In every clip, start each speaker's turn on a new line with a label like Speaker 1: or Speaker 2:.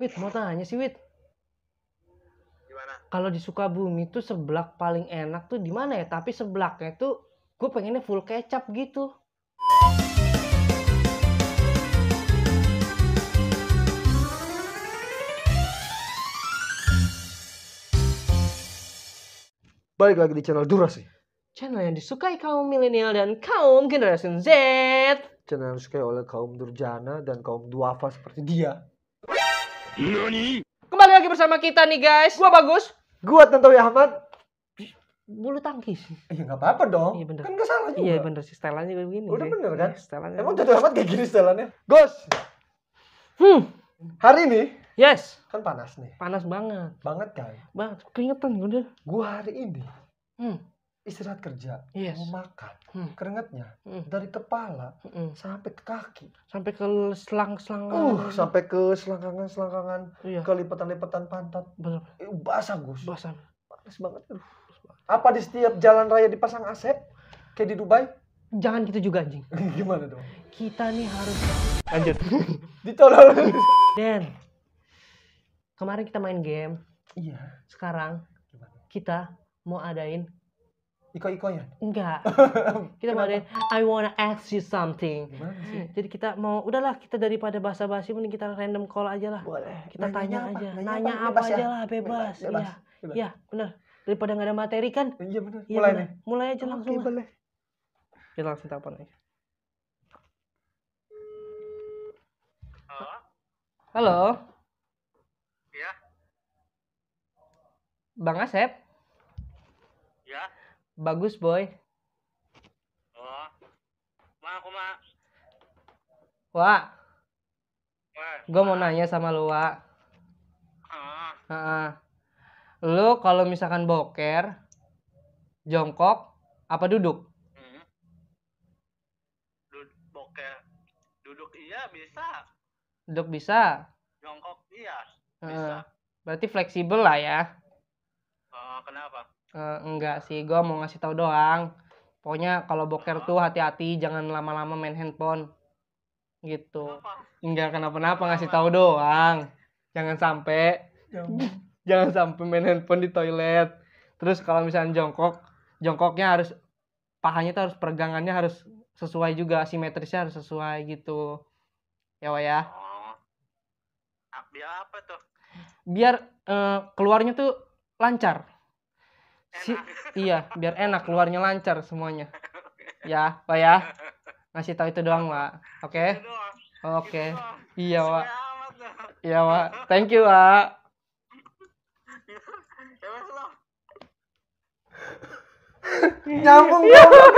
Speaker 1: Wit, mau tanya sih Wit.
Speaker 2: Gimana?
Speaker 1: Kalau di Sukabumi tuh seblak paling enak tuh di mana ya? Tapi seblaknya tuh gue pengennya full kecap gitu.
Speaker 3: Balik lagi di channel Durasi.
Speaker 1: Channel yang disukai kaum milenial dan kaum generasi Z.
Speaker 3: Channel yang disukai oleh kaum durjana dan kaum duafa seperti dia.
Speaker 1: Kembali lagi bersama kita nih guys. Gua bagus.
Speaker 3: Gua Tantowi Ahmad.
Speaker 1: Bulu tangkis.
Speaker 3: Iya nggak apa-apa dong.
Speaker 1: Iya, bener.
Speaker 3: Kan nggak salah juga.
Speaker 1: Iya bener sih setelannya juga begini.
Speaker 3: Udah
Speaker 1: sih.
Speaker 3: bener kan?
Speaker 1: Iya, Setelannya.
Speaker 3: Emang Tantowi Ahmad kayak gini setelannya? Gos,
Speaker 1: Hmm.
Speaker 3: hari ini
Speaker 1: Yes.
Speaker 3: kan panas nih.
Speaker 1: Panas banget.
Speaker 3: Banget kan?
Speaker 1: Bang, keringetan gue udah.
Speaker 3: Gua hari ini
Speaker 1: Hmm.
Speaker 3: istirahat kerja,
Speaker 1: Yes.
Speaker 3: mau makan.
Speaker 1: Hmm.
Speaker 3: Keringatnya
Speaker 1: Hmm.
Speaker 3: dari kepala
Speaker 1: Mm-mm.
Speaker 3: sampai ke kaki.
Speaker 1: Sampai ke selang-selang.
Speaker 3: Uh, sampai ke selangkangan-selangkangan,
Speaker 1: Iya.
Speaker 3: ke lipetan-lipetan pantat.
Speaker 1: Bener.
Speaker 3: Eh, basah, Gus.
Speaker 1: Basah.
Speaker 3: Panas banget. aduh. Apa di setiap jalan raya dipasang AC? Kayak di Dubai?
Speaker 1: Jangan gitu juga anjing.
Speaker 3: Gimana dong?
Speaker 1: Kita nih harus lanjut.
Speaker 3: Ditolong.
Speaker 1: Dan kemarin kita main game,
Speaker 3: iya.
Speaker 1: sekarang
Speaker 3: Gimana?
Speaker 1: kita mau adain
Speaker 3: Iko-iko ya?
Speaker 1: enggak. Kita mau adain I wanna ask you something.
Speaker 3: Gimana sih?
Speaker 1: Jadi kita mau udahlah kita daripada basa-basi mending kita random call aja lah.
Speaker 3: Boleh.
Speaker 1: Kita tanya
Speaker 3: Nanyanya Iya. apa?
Speaker 1: aja,
Speaker 3: Nanya
Speaker 1: nanya
Speaker 3: apa?
Speaker 1: apa
Speaker 3: Bebas ya?
Speaker 1: aja lah bebas.
Speaker 3: Bebas.
Speaker 1: Iya.
Speaker 3: Bebas.
Speaker 1: Iya, benar. Daripada nggak ada materi kan?
Speaker 3: Iya bener.
Speaker 1: Iya,
Speaker 3: Mulai
Speaker 1: benar.
Speaker 3: nih.
Speaker 1: Mulai aja langsung.
Speaker 3: Oke,
Speaker 1: lah.
Speaker 3: boleh.
Speaker 1: Kita langsung telepon aja.
Speaker 2: Halo?
Speaker 1: Halo,
Speaker 2: Ya,
Speaker 1: Bang Asep.
Speaker 2: ya.
Speaker 1: Bagus, boy.
Speaker 2: Oh. Ma, aku ma.
Speaker 1: Wah,
Speaker 2: Ma.
Speaker 1: gue mau nanya sama lu, Wak.
Speaker 2: Ah,
Speaker 1: Heeh. Lu kalau misalkan boker, jongkok, apa duduk?
Speaker 2: hmm. Duduk boker. Duduk iya bisa.
Speaker 1: Duduk bisa.
Speaker 2: Jongkok iya.
Speaker 1: Heeh.
Speaker 2: Bisa.
Speaker 1: berarti fleksibel lah ya.
Speaker 2: Oh, kenapa?
Speaker 1: Eh, enggak sih, gue mau ngasih tahu doang. Pokoknya kalau boker tuh hati-hati, jangan lama-lama main handphone. Gitu.
Speaker 2: Kenapa?
Speaker 1: Enggak kenapa-napa ngasih tahu doang. Jangan sampai jangan sampai main handphone di toilet. Terus kalau misalnya jongkok, jongkoknya harus pahanya tuh harus peregangannya harus sesuai juga, simetrisnya harus sesuai gitu. Ya Wak, ya.
Speaker 2: Oh. Ah, Dia apa tuh?
Speaker 1: Biar eh, keluarnya tuh lancar. Si-
Speaker 2: Enak.
Speaker 1: iya, biar enak keluarnya lancar semuanya. Ya, Wak ya. Ngasih tahu itu doang, Wak. Oke.
Speaker 2: Gitu doang.
Speaker 1: Oke.
Speaker 2: Gitu doang.
Speaker 1: Iya, Wak.
Speaker 2: Sesuai amat tuh.
Speaker 1: Iya, Wak. Thank you, Wak.
Speaker 2: Ya, wes lah.
Speaker 3: Nyambung goblok.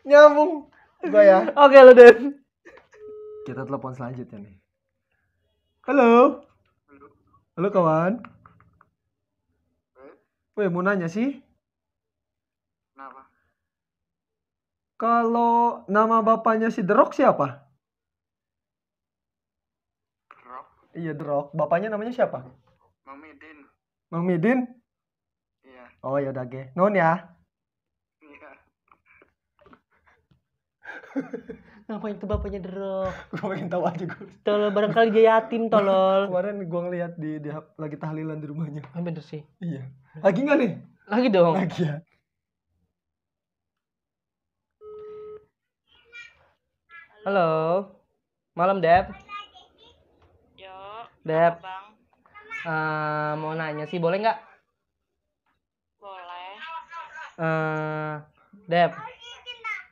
Speaker 3: Nyambung. Gua ya.
Speaker 1: Oke, lu Den.
Speaker 3: Kita telepon selanjutnya nih. Halo. Halo kawan.
Speaker 2: Eh?
Speaker 3: Weh, mau nanya sih,
Speaker 2: Kenapa?
Speaker 3: kalau nama bapaknya si The Rock siapa?
Speaker 2: Rock.
Speaker 3: Iya The Rock. Bapaknya namanya siapa?
Speaker 2: Mamidin.
Speaker 3: Mang Midin?
Speaker 2: Iya.
Speaker 3: Oh ya udah ge. Non ya.
Speaker 2: Iya.
Speaker 1: Ngapain tuh bapaknya derok?
Speaker 3: Gue pengen tahu aja gue.
Speaker 1: Tolol barangkali dia yatim, tolol.
Speaker 3: Kemarin gue ngeliat di, di hap- lagi tahlilan di rumahnya.
Speaker 1: Ah, bener sih.
Speaker 3: Iya. Lagi nggak nih?
Speaker 1: Lagi dong.
Speaker 3: Lagi ya.
Speaker 1: Halo. Malam, Deb.
Speaker 4: Yo,
Speaker 1: Deb,
Speaker 4: Bang.
Speaker 1: eh, mau nanya sih, boleh nggak?
Speaker 4: Boleh.
Speaker 1: eh Deb,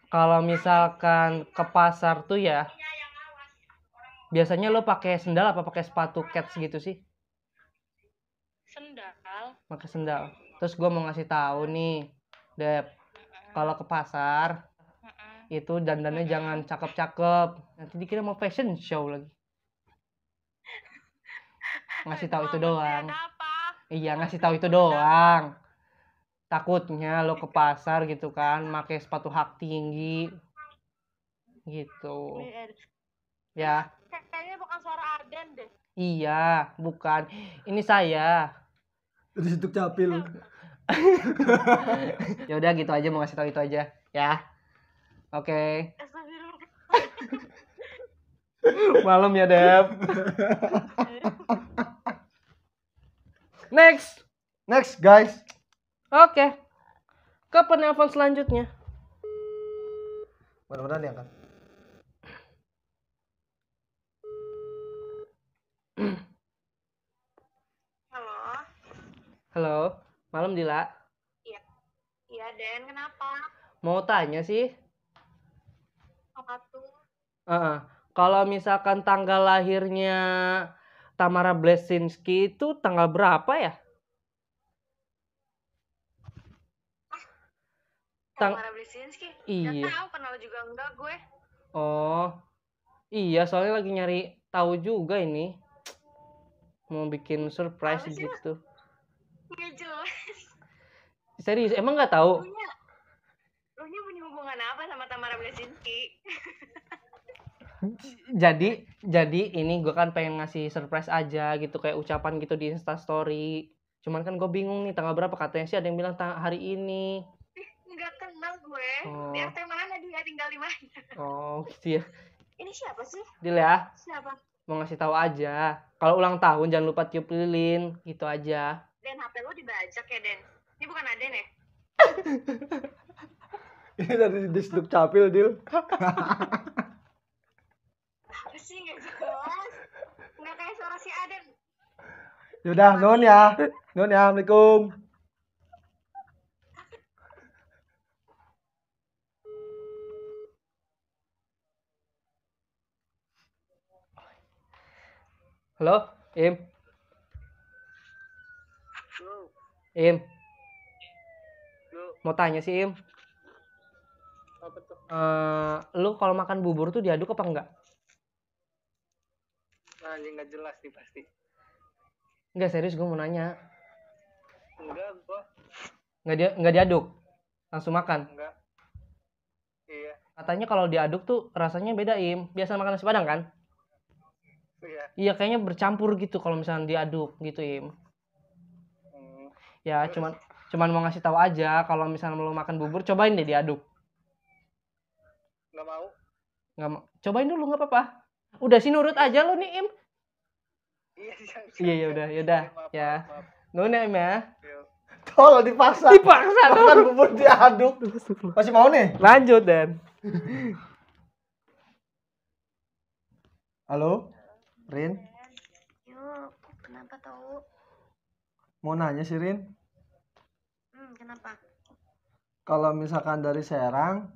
Speaker 1: kalau misalkan ke pasar tuh ya, biasanya lo pakai sendal apa pakai sepatu kets gitu sih?
Speaker 4: Sendal.
Speaker 1: Pakai sendal. Terus gue mau ngasih tahu nih, Deb, kalau ke pasar
Speaker 4: Heeh.
Speaker 1: itu dandannya jangan cakep-cakep. Nanti dikira mau fashion show lagi. Ngasih tahu itu
Speaker 4: Emang maksudnya
Speaker 1: doang.
Speaker 4: Eh, Ada apa?
Speaker 1: Iya ngasih tahu itu doang. Takutnya lo ke pasar gitu kan, pakai sepatu hak tinggi gitu.
Speaker 4: Ini, eh,
Speaker 1: Ya,
Speaker 4: Kayaknya bukan suara Aden deh.
Speaker 1: iya, bukan. Ini saya.
Speaker 3: Terus itu capil.
Speaker 2: Iya.
Speaker 1: Ya udah gitu aja mau ngasih tahu itu aja, ya. Oke.
Speaker 4: Astagfirullah.
Speaker 1: Malam ya, Deb. Next.
Speaker 3: Next guys.
Speaker 1: Oke. Ke penelpon selanjutnya.
Speaker 3: Mudah-mudahan diangkat.
Speaker 4: Halo.
Speaker 1: Halo. Malam Dila.
Speaker 4: Iya, Den, kenapa?
Speaker 1: Mau tanya sih.
Speaker 4: Apa tuh?
Speaker 1: Heeh. Kalau misalkan tanggal lahirnya Tamara Blesinski itu tanggal berapa ya? Tang-
Speaker 4: Tamara Blisinski?
Speaker 1: Iya.
Speaker 4: Gak tahu, kenal juga enggak gue.
Speaker 1: Oh, iya soalnya lagi nyari tahu juga ini. Mau bikin surprise
Speaker 4: Apa sih, Mas?
Speaker 1: gitu.
Speaker 4: Nggak Iya, jelas.
Speaker 1: Serius, emang nggak tahu?
Speaker 4: Lunya, Lunya punya hubungan apa sama Tamara Blisinski?
Speaker 1: Jadi,
Speaker 4: ya.
Speaker 1: jadi ini gue kan pengen ngasih surprise aja gitu kayak ucapan gitu di Insta Story. Cuman kan gue bingung nih tanggal berapa katanya sih ada yang bilang tang- hari ini.
Speaker 4: Nggak kenal gue.
Speaker 1: Oh.
Speaker 4: Di RT mana dia tinggal di mana?
Speaker 1: Oh, gitu ya.
Speaker 4: Ini siapa sih?
Speaker 1: Dil ya.
Speaker 4: Siapa?
Speaker 1: mau ngasih tahu aja. Kalau ulang tahun jangan lupa tiup lilin, gitu aja.
Speaker 4: Den, HP lo dibajak ya, Den? Ini bukan Aden ya?
Speaker 3: Ini dari Disduk Capil, Dil.
Speaker 4: Apa sih? Nggak jelas. Nggak kayak suara si Aden.
Speaker 3: Yaudah, nun ya. Nun ya, Assalamualaikum.
Speaker 1: Halo, Im,
Speaker 2: Lu,
Speaker 1: Im,
Speaker 2: lu
Speaker 1: mau tanya sih Im,
Speaker 2: apa tuh?
Speaker 1: Eh, lu kalau makan bubur tuh diaduk apa enggak?
Speaker 2: Anjing nggak jelas nih pasti.
Speaker 1: Enggak serius, gue mau nanya.
Speaker 2: Enggak, gua
Speaker 1: Enggak dia, enggak diaduk, langsung makan.
Speaker 2: enggak. Iya,
Speaker 1: Katanya kalau diaduk tuh rasanya beda Im. Biasa makan nasi padang kan?
Speaker 2: iya.
Speaker 1: Iya, kayaknya bercampur gitu kalau misalnya diaduk gitu Im.
Speaker 2: Hmm.
Speaker 1: Ya cuman cuman mau ngasih tahu aja kalau misalnya lu makan bubur cobain deh diaduk.
Speaker 2: Nggak mau.
Speaker 1: Nggak mau- cobain dulu nggak apa-apa. Udah sih nurut aja lu nih Im.
Speaker 2: Iya, jangan.
Speaker 1: Iya, yaudah, yaudah,
Speaker 2: Maaf,
Speaker 1: ya.
Speaker 2: maaf, maaf.
Speaker 1: Nona Im ya.
Speaker 2: Yo.
Speaker 3: Tolong dipaksa.
Speaker 1: Dipaksa
Speaker 3: Makan bubur diaduk. Masih mau nih?
Speaker 1: Lanjut Dan.
Speaker 3: Halo? Rin?
Speaker 4: Yuk, kenapa tau?
Speaker 3: Mau nanya sih, Rin.
Speaker 4: Hmm, kenapa?
Speaker 3: Kalau misalkan dari Serang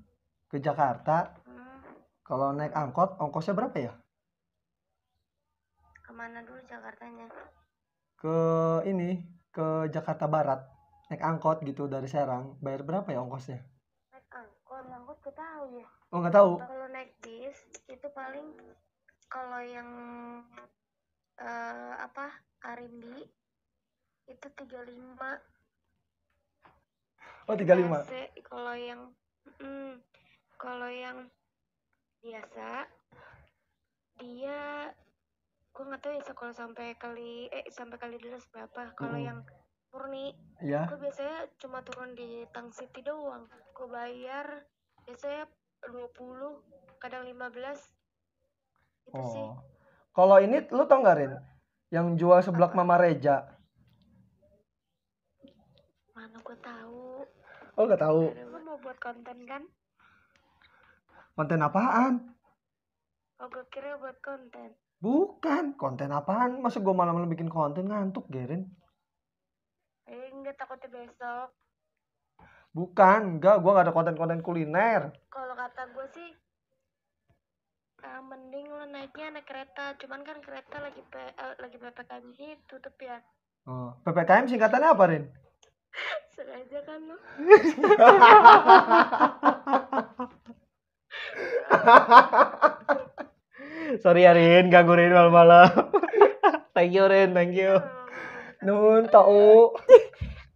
Speaker 3: ke Jakarta,
Speaker 4: Hmm,
Speaker 3: kalau naik angkot, ongkosnya berapa ya?
Speaker 4: kemana dulu Jakartanya?
Speaker 3: Ke ini, ke Jakarta Barat. Naik angkot gitu dari Serang. Bayar berapa ya ongkosnya?
Speaker 4: Naik angkot, angkot gue tahu ya.
Speaker 3: Oh, nggak tahu.
Speaker 4: Kalau naik bis itu paling kalau yang eh apa Arimbi itu 35
Speaker 3: Oh, 35.
Speaker 4: AC. E. Kalau yang mm, kalau yang biasa dia gue nggak tahu ya kalau sampai kali eh sampai kali dulu berapa. Kalau
Speaker 3: Mm-mm.
Speaker 4: yang murni
Speaker 3: Iya.
Speaker 4: gue biasanya cuma turun di Tang City doang gue bayar biasanya 20 kadang 15 itu sih
Speaker 3: Oh. Kalau ini lu tau nggak, Rin? Yang jual seblak Mama Reja.
Speaker 4: mana gue tahu
Speaker 3: Oh, nggak tahu.
Speaker 4: lu mau buat konten kan
Speaker 3: Konten apaan?
Speaker 4: oh gue kira buat konten
Speaker 3: Bukan, konten apaan? Masa gue malam-malam bikin konten ngantuk, Gerin?
Speaker 4: eh enggak takutnya besok
Speaker 3: Bukan, enggak, gua nggak ada konten-konten kuliner.
Speaker 4: kalau kata gue sih eh, mending lo naiknya naik kereta cuman kan kereta lagi P, eh, lagi ppkm ini tutup ya
Speaker 3: Oh. PPKM singkatannya apa, Rin?
Speaker 4: sengaja kan lo
Speaker 1: Sorry ya Rin, ganggu Rin malam-malam. thank you Rin, thank
Speaker 3: Oh.
Speaker 1: you.
Speaker 4: Oh.
Speaker 3: Nun, tau.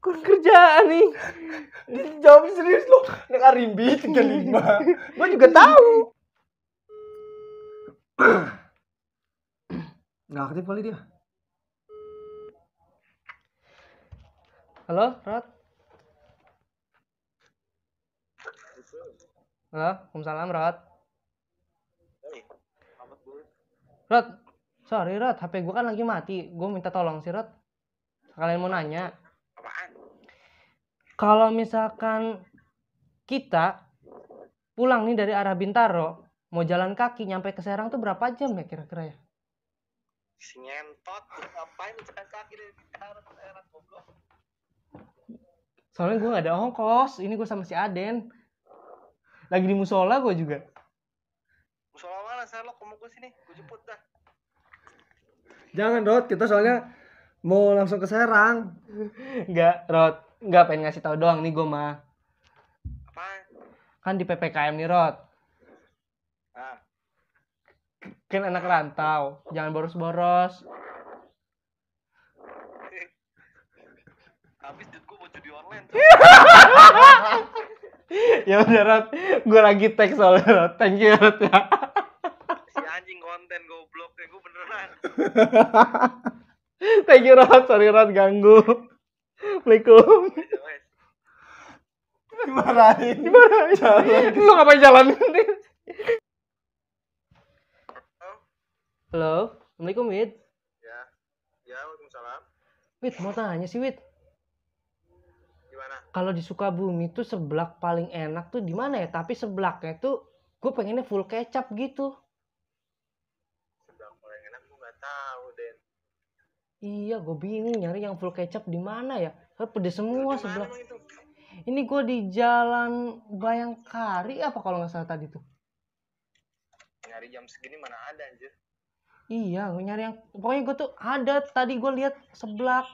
Speaker 1: Kurang kerjaan nih.
Speaker 3: Jawab serius lu. kan Nek Arimbi 35. Gua juga tahu. Nggak aktif kali dia.
Speaker 1: Halo, Rod. Halo, Waalaikumsalam Rod. Rod, sorry Rod, HP gue kan lagi mati. Gue minta tolong sih Rod. Kalian mau nanya,
Speaker 2: Apaan?
Speaker 1: kalau misalkan kita pulang nih dari arah Bintaro, mau jalan kaki nyampe ke Serang tuh berapa jam ya kira-kira ya?
Speaker 2: Si ngentot, lu ngapain lu jalan kaki dari Bintaro ke daerah goblok?
Speaker 1: Soalnya gue gak ada ongkos, ini gue sama si Aden. Lagi di musola gue juga.
Speaker 2: Musola mana saya lo kamu gue sini, gue jemput dah.
Speaker 3: Jangan Rod, kita soalnya mau langsung ke Serang.
Speaker 1: Enggak, Rod. Enggak, pengen ngasih tahu doang nih gue mah.
Speaker 2: Apaan?
Speaker 1: Kan di PPKM nih, Rod.
Speaker 2: Ah,
Speaker 1: Kan anak rantau. Jangan boros-boros.
Speaker 2: habis duit gue bocor di online tuh.
Speaker 1: ya udah, Rod. Gue lagi tag soalnya, Rod. Thank you, Rod. Ya.
Speaker 2: si anjing konten goblok ya gue beneran.
Speaker 1: Thank you, Rod. Sorry, Rod. Ganggu. Assalamualaikum.
Speaker 2: Ya, Wes,
Speaker 3: Dimarahin.
Speaker 1: Gimana? Lu ngapain jalan? Halo? Assalamualaikum, Wid.
Speaker 2: Ya. Ya, Waalaikumsalam.
Speaker 1: Wid, mau tanya sih, Wid.
Speaker 2: Gimana?
Speaker 1: kalau di Sukabumi tuh seblak paling enak tuh di mana ya? Tapi seblaknya tuh gue pengennya full kecap gitu.
Speaker 2: Sebelah paling enak gue gak tahu, Den.
Speaker 1: Iya, gue bingung nyari yang full kecap di mana ya? Soalnya pedes semua
Speaker 2: Gimana
Speaker 1: seblak.
Speaker 2: emang itu?
Speaker 1: Ini gue di Jalan Bayangkari apa kalau nggak salah tadi tuh?
Speaker 2: Nyari jam segini mana ada anjir.
Speaker 1: Iya, gue nyari yang pokoknya gue tuh ada tadi gue lihat seblak,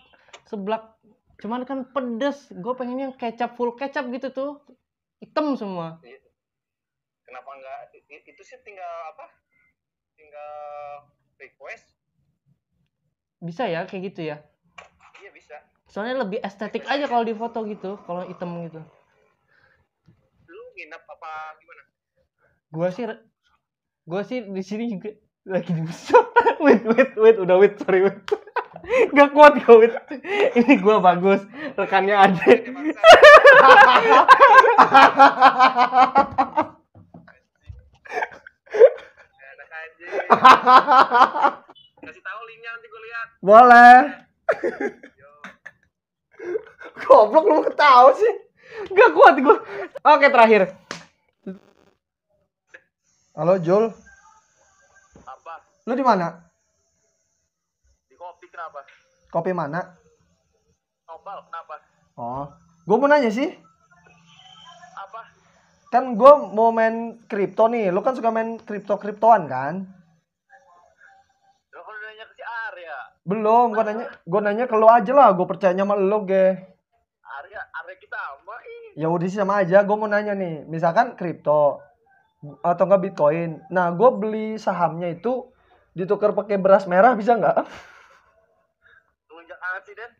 Speaker 1: seblak. Cuman kan pedes. Gue pengennya yang kecap full kecap gitu tuh, hitam semua.
Speaker 2: Kenapa enggak i- i- itu sih tinggal apa? Tinggal request.
Speaker 1: Bisa ya kayak gitu ya?
Speaker 2: Iya bisa.
Speaker 1: Soalnya lebih estetik aja kalau di foto gitu, kalau hitam gitu.
Speaker 2: Lu nginep apa gimana?
Speaker 1: gua sih gua sih di sini juga lagi di musola. wait wait wait udah wait sorry wait gak kuat gua wait ini gua bagus rekannya ada
Speaker 2: Ini bangsa. Enak aja. Kasih tahu linknya nanti gue lihat.
Speaker 3: Boleh. Goblok lu ketawa sih.
Speaker 1: gak kuat gua oke terakhir
Speaker 3: Halo Jul,
Speaker 2: Apa?
Speaker 3: lu di mana?
Speaker 2: Di kopi kenapa?
Speaker 3: Kopi mana?
Speaker 2: Nopal kenapa?
Speaker 3: Oh, gue mau nanya sih.
Speaker 2: Apa?
Speaker 3: Kan gue mau main kripto nih. Lu kan suka main kripto-kriptoan kan?
Speaker 2: Lo kalau nanya ke si Arya.
Speaker 3: Belum, gue nanya, gue nanya ke lu aja lah. Gue percayanya sama lu, ge.
Speaker 2: Arya, Arya kita sama ih.
Speaker 3: Ya udah sih sama aja. Gue mau nanya nih. Misalkan kripto atau enggak bitcoin. Nah, gue beli sahamnya itu ditukar pakai beras merah bisa nggak?
Speaker 2: Lunjak alat sih Den.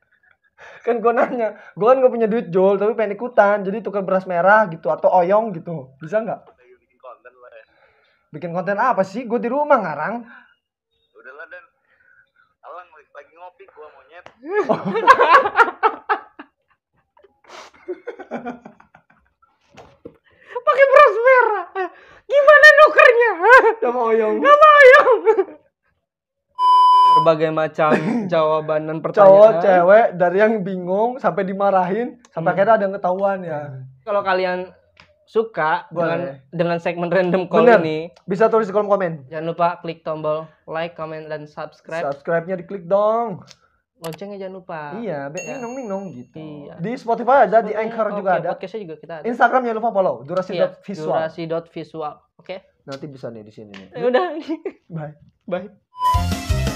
Speaker 3: kan gue nanya, gue kan gak punya duit Jul, tapi pengen ikutan, jadi tukar beras merah gitu atau oyong gitu, bisa nggak?
Speaker 2: Lagi bikin konten lo ya.
Speaker 3: Bikin konten apa sih? Gue di rumah ngarang.
Speaker 2: Udah lah Den. Alang lagi- lagi ngopi gua monyet.
Speaker 1: pakai beras merah gimana nukernya
Speaker 3: Sama oyong.
Speaker 1: nama ayam berbagai macam jawaban dan
Speaker 3: Cowok,
Speaker 1: pertanyaan
Speaker 3: cewek, dari yang bingung sampai dimarahin, sampai
Speaker 1: Hmm.
Speaker 3: akhirnya ada yang ketahuan ya.
Speaker 1: kalau kalian suka
Speaker 3: Boleh.
Speaker 1: dengan dengan segmen random call
Speaker 3: Bener.
Speaker 1: ini
Speaker 3: Bisa tulis di kolom komen.
Speaker 1: jangan lupa klik tombol like comment dan subscribe
Speaker 3: Subscribe-nya diklik dong.
Speaker 1: loncengnya jangan lupa
Speaker 3: Iya, biar
Speaker 1: Ya.
Speaker 3: nong nong gitu.
Speaker 1: Iya.
Speaker 3: Di Spotify ada, di Anchor
Speaker 1: Oke,
Speaker 3: juga ada.
Speaker 1: Podcastnya juga kita ada.
Speaker 3: Instagram jangan lupa follow durasi
Speaker 1: Iya,
Speaker 3: visual.
Speaker 1: durasi.visual. Oke. Eh.
Speaker 3: Nanti bisa nih di sini nih.
Speaker 1: Ya udah.
Speaker 3: Bye.
Speaker 1: Bye.